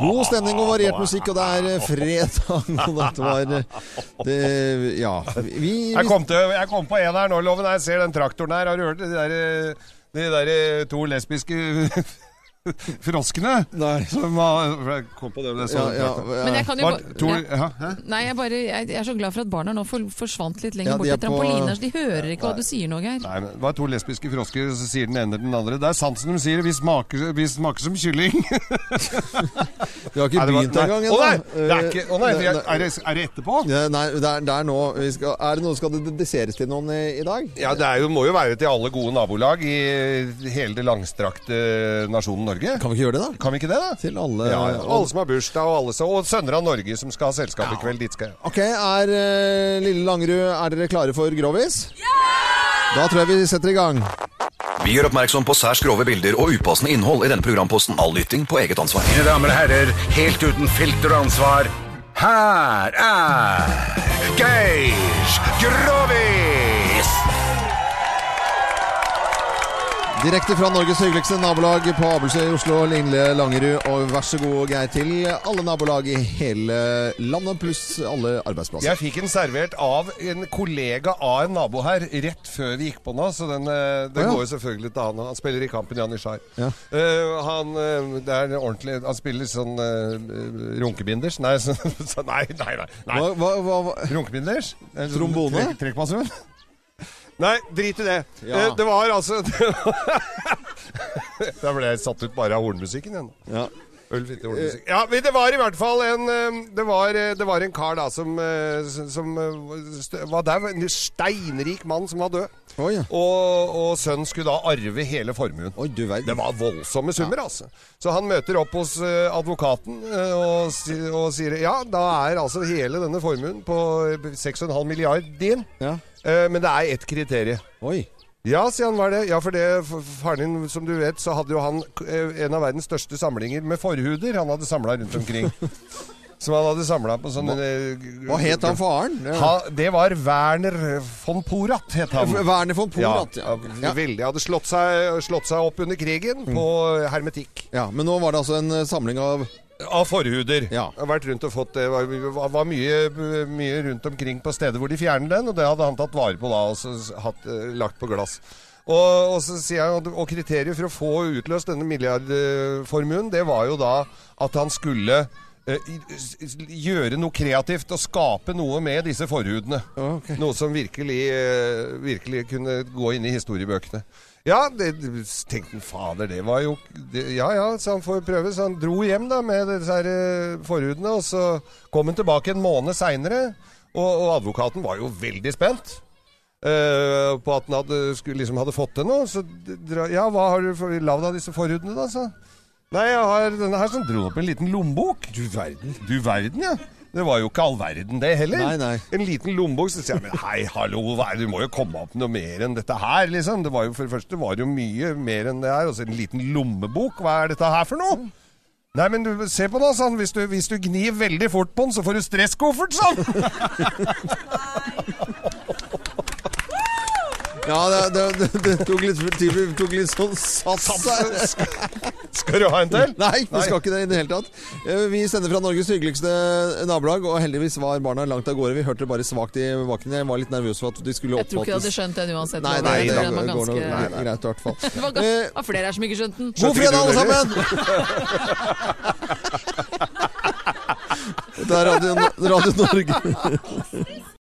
God stemning og variert musikk, og det er eh, fredag. Og dette var eh, det, Ja. Vi, Jeg kom, til, jeg kom på en her nå, Loven. Jeg ser den traktoren her. Har du hørt de der, eh, de der eh, to lesbiske froskene? Nei. Som var, jeg kom på det, men jeg så Ja, ja, den traktoren. Men jeg kan jo Var bare- to, ja. ja, hæ? Nei, jeg, bare, jeg, jeg er så glad for at barna nå for, forsvant litt lenger Ja, de bort er til trampolina. på- så De hører ikke hva du sier nå, Geir. Nei, men det var to lesbiske frosker, så sier den ene til den andre. Det er sansen de sier. Vi smaker, vi smaker som kylling. vi har ikke Nei, det var- begynt engang nei. ennå. Å nei! Det er, ikke, å nei, vi er, Eh, er, det, er det etterpå? Ja, Nei, det er, det er nå vi skal, Er det noe skal det desseres til noen i, i dag? Ja, det er jo, må jo være til alle gode nabolag i hele det langstrakte nasjonen Norge. Kan vi ikke gjøre det, da? Kan vi ikke det, da? Til alle. Ja, ja. Alle som har bursdag, og alle som, og Søndre av Norge som skal ha selskap i kveld. Dit skal jeg. Ok, er eh, Lille Langerud, er dere klare for Grovis? Ja! Da tror jeg vi setter i gang. Vi gjør oppmerksom på særs grove bilder og upassende innhold i denne programposten. All lytting på eget ansvar. Mine damer og herrer, helt uten filter og ansvar, her er Geir Grovis! Direkte fra Norges hyggeligste nabolag på Abelsøy i Oslo, Lille Langerud. Og vær så god, Geir, til alle nabolag i hele landet, pluss alle arbeidsplasser. Jeg fikk den servert av en kollega av en nabo her rett før vi gikk på nå, så den, eh, den Å, ja. går jo selvfølgelig til han. Han spiller i kampen Jan Ishar. Ja. Eh, han, eh, det er en ordentlig, han spiller sånn eh, runkebinders. Nei, så, så, nei, nei. nei, nei. Hva, hva, hva, hva? Runkebinders? Eh, Trombone? trekk- Trekkbasun? Nei, drit i det. Ja. Eh, Det var altså Da ble jeg satt ut bare av hornmusikken igjen. Ja. Øl fitte Eh, hornmusikk. Ja, men det var i hvert fall en eh, Det var, eh, det var en kar da som, eh, s- som eh, st- var der. En steinrik mann som var død. Oi, ja. Og, og sønnen skulle da arve hele formuen. Oi, du verden. Det var voldsomme summer, altså. Så han møter opp hos eh, advokaten eh, og, si, og sier ja, da er altså hele denne formuen på eh, 6,5 milliard din. Ja. Eh, men det er ett kriterium. Oi. Ja, sier han, hva er det? Ja, for det, f- f- faren din, som du vet, så hadde jo han eh, en av verdens største samlinger med forhuder han hadde samla rundt omkring. Som han hadde samla på sånne eh, Hva het han faren? Ha, det var Werner von Porat, het han. Werner von Porat. Ja, Ja. ja, Ja. Mm. veldig. Hadde slått seg, slått seg opp under krigen på hermetikk. ja, Men nå var det altså en eh, samling av Av forhuder. Ja. Har vært rundt og fått det. Var, var mye, mye rundt omkring på stedet hvor de fjerner den, og det hadde han tatt vare på da, og så s- hatt, eh, lagt på glass. Og, og så sier jeg, og- og kriteriet for å få utløst denne milliardformuen, det var jo da at han skulle eh, i- s- s- Gjøre noe kreativt og skape noe med disse forhudene. Ja, ok. Noe som virkelig, eh, virkelig kunne gå inn i historiebøkene. Ja, det, tenkte han, fader, det var jo det, Ja ja, så han får prøve. Så han dro hjem da med disse her eh, forhudene, og så kom han tilbake en måned seinere. Og, og advokaten var jo veldig spent eh, på at han hadde, skulle, liksom hadde fått til noe. Så dra, ja, hva har du for- lagd av disse forhudene, da? sa han. Nei, jeg har denne her som dro opp en liten lommebok. Du verden. Du verden, ja. Det var jo ikke all verden det heller. Nei, nei. En liten lommebok, så sier jeg, men hei, hallo, hva er det? du må jo komme opp med noe mer enn dette her, liksom. Det var jo, for det første var det jo mye mer enn det her, og så en liten lommebok, hva er dette her for noe? Nei, men du, se på det, sa han. Hvis du, hvis du gnir veldig fort på den, så får du stresskoffert, sa han. Ja, det, det, det, det tok litt typisk- tok litt sånn sats her. Skal du ha en til? Nei, vi skal ikke det i det hele tatt. Eh, Vi sender fra Norges hyggeligste eh, nabolag, og heldigvis var barna langt av gårde. Vi hørte det bare svakt i bakken. Jeg var litt nervøs for at de skulle Jeg tror ikke du hadde oppfattes skjønt den uansett. Nei, Loven. nei, Jeg det tror går den var nok ganske- greit- greit i hvert Det var fall. gans- Eh, det var flere her som ikke skjønte den. God fredag, alle sammen! Det er Radio, Radio Norge.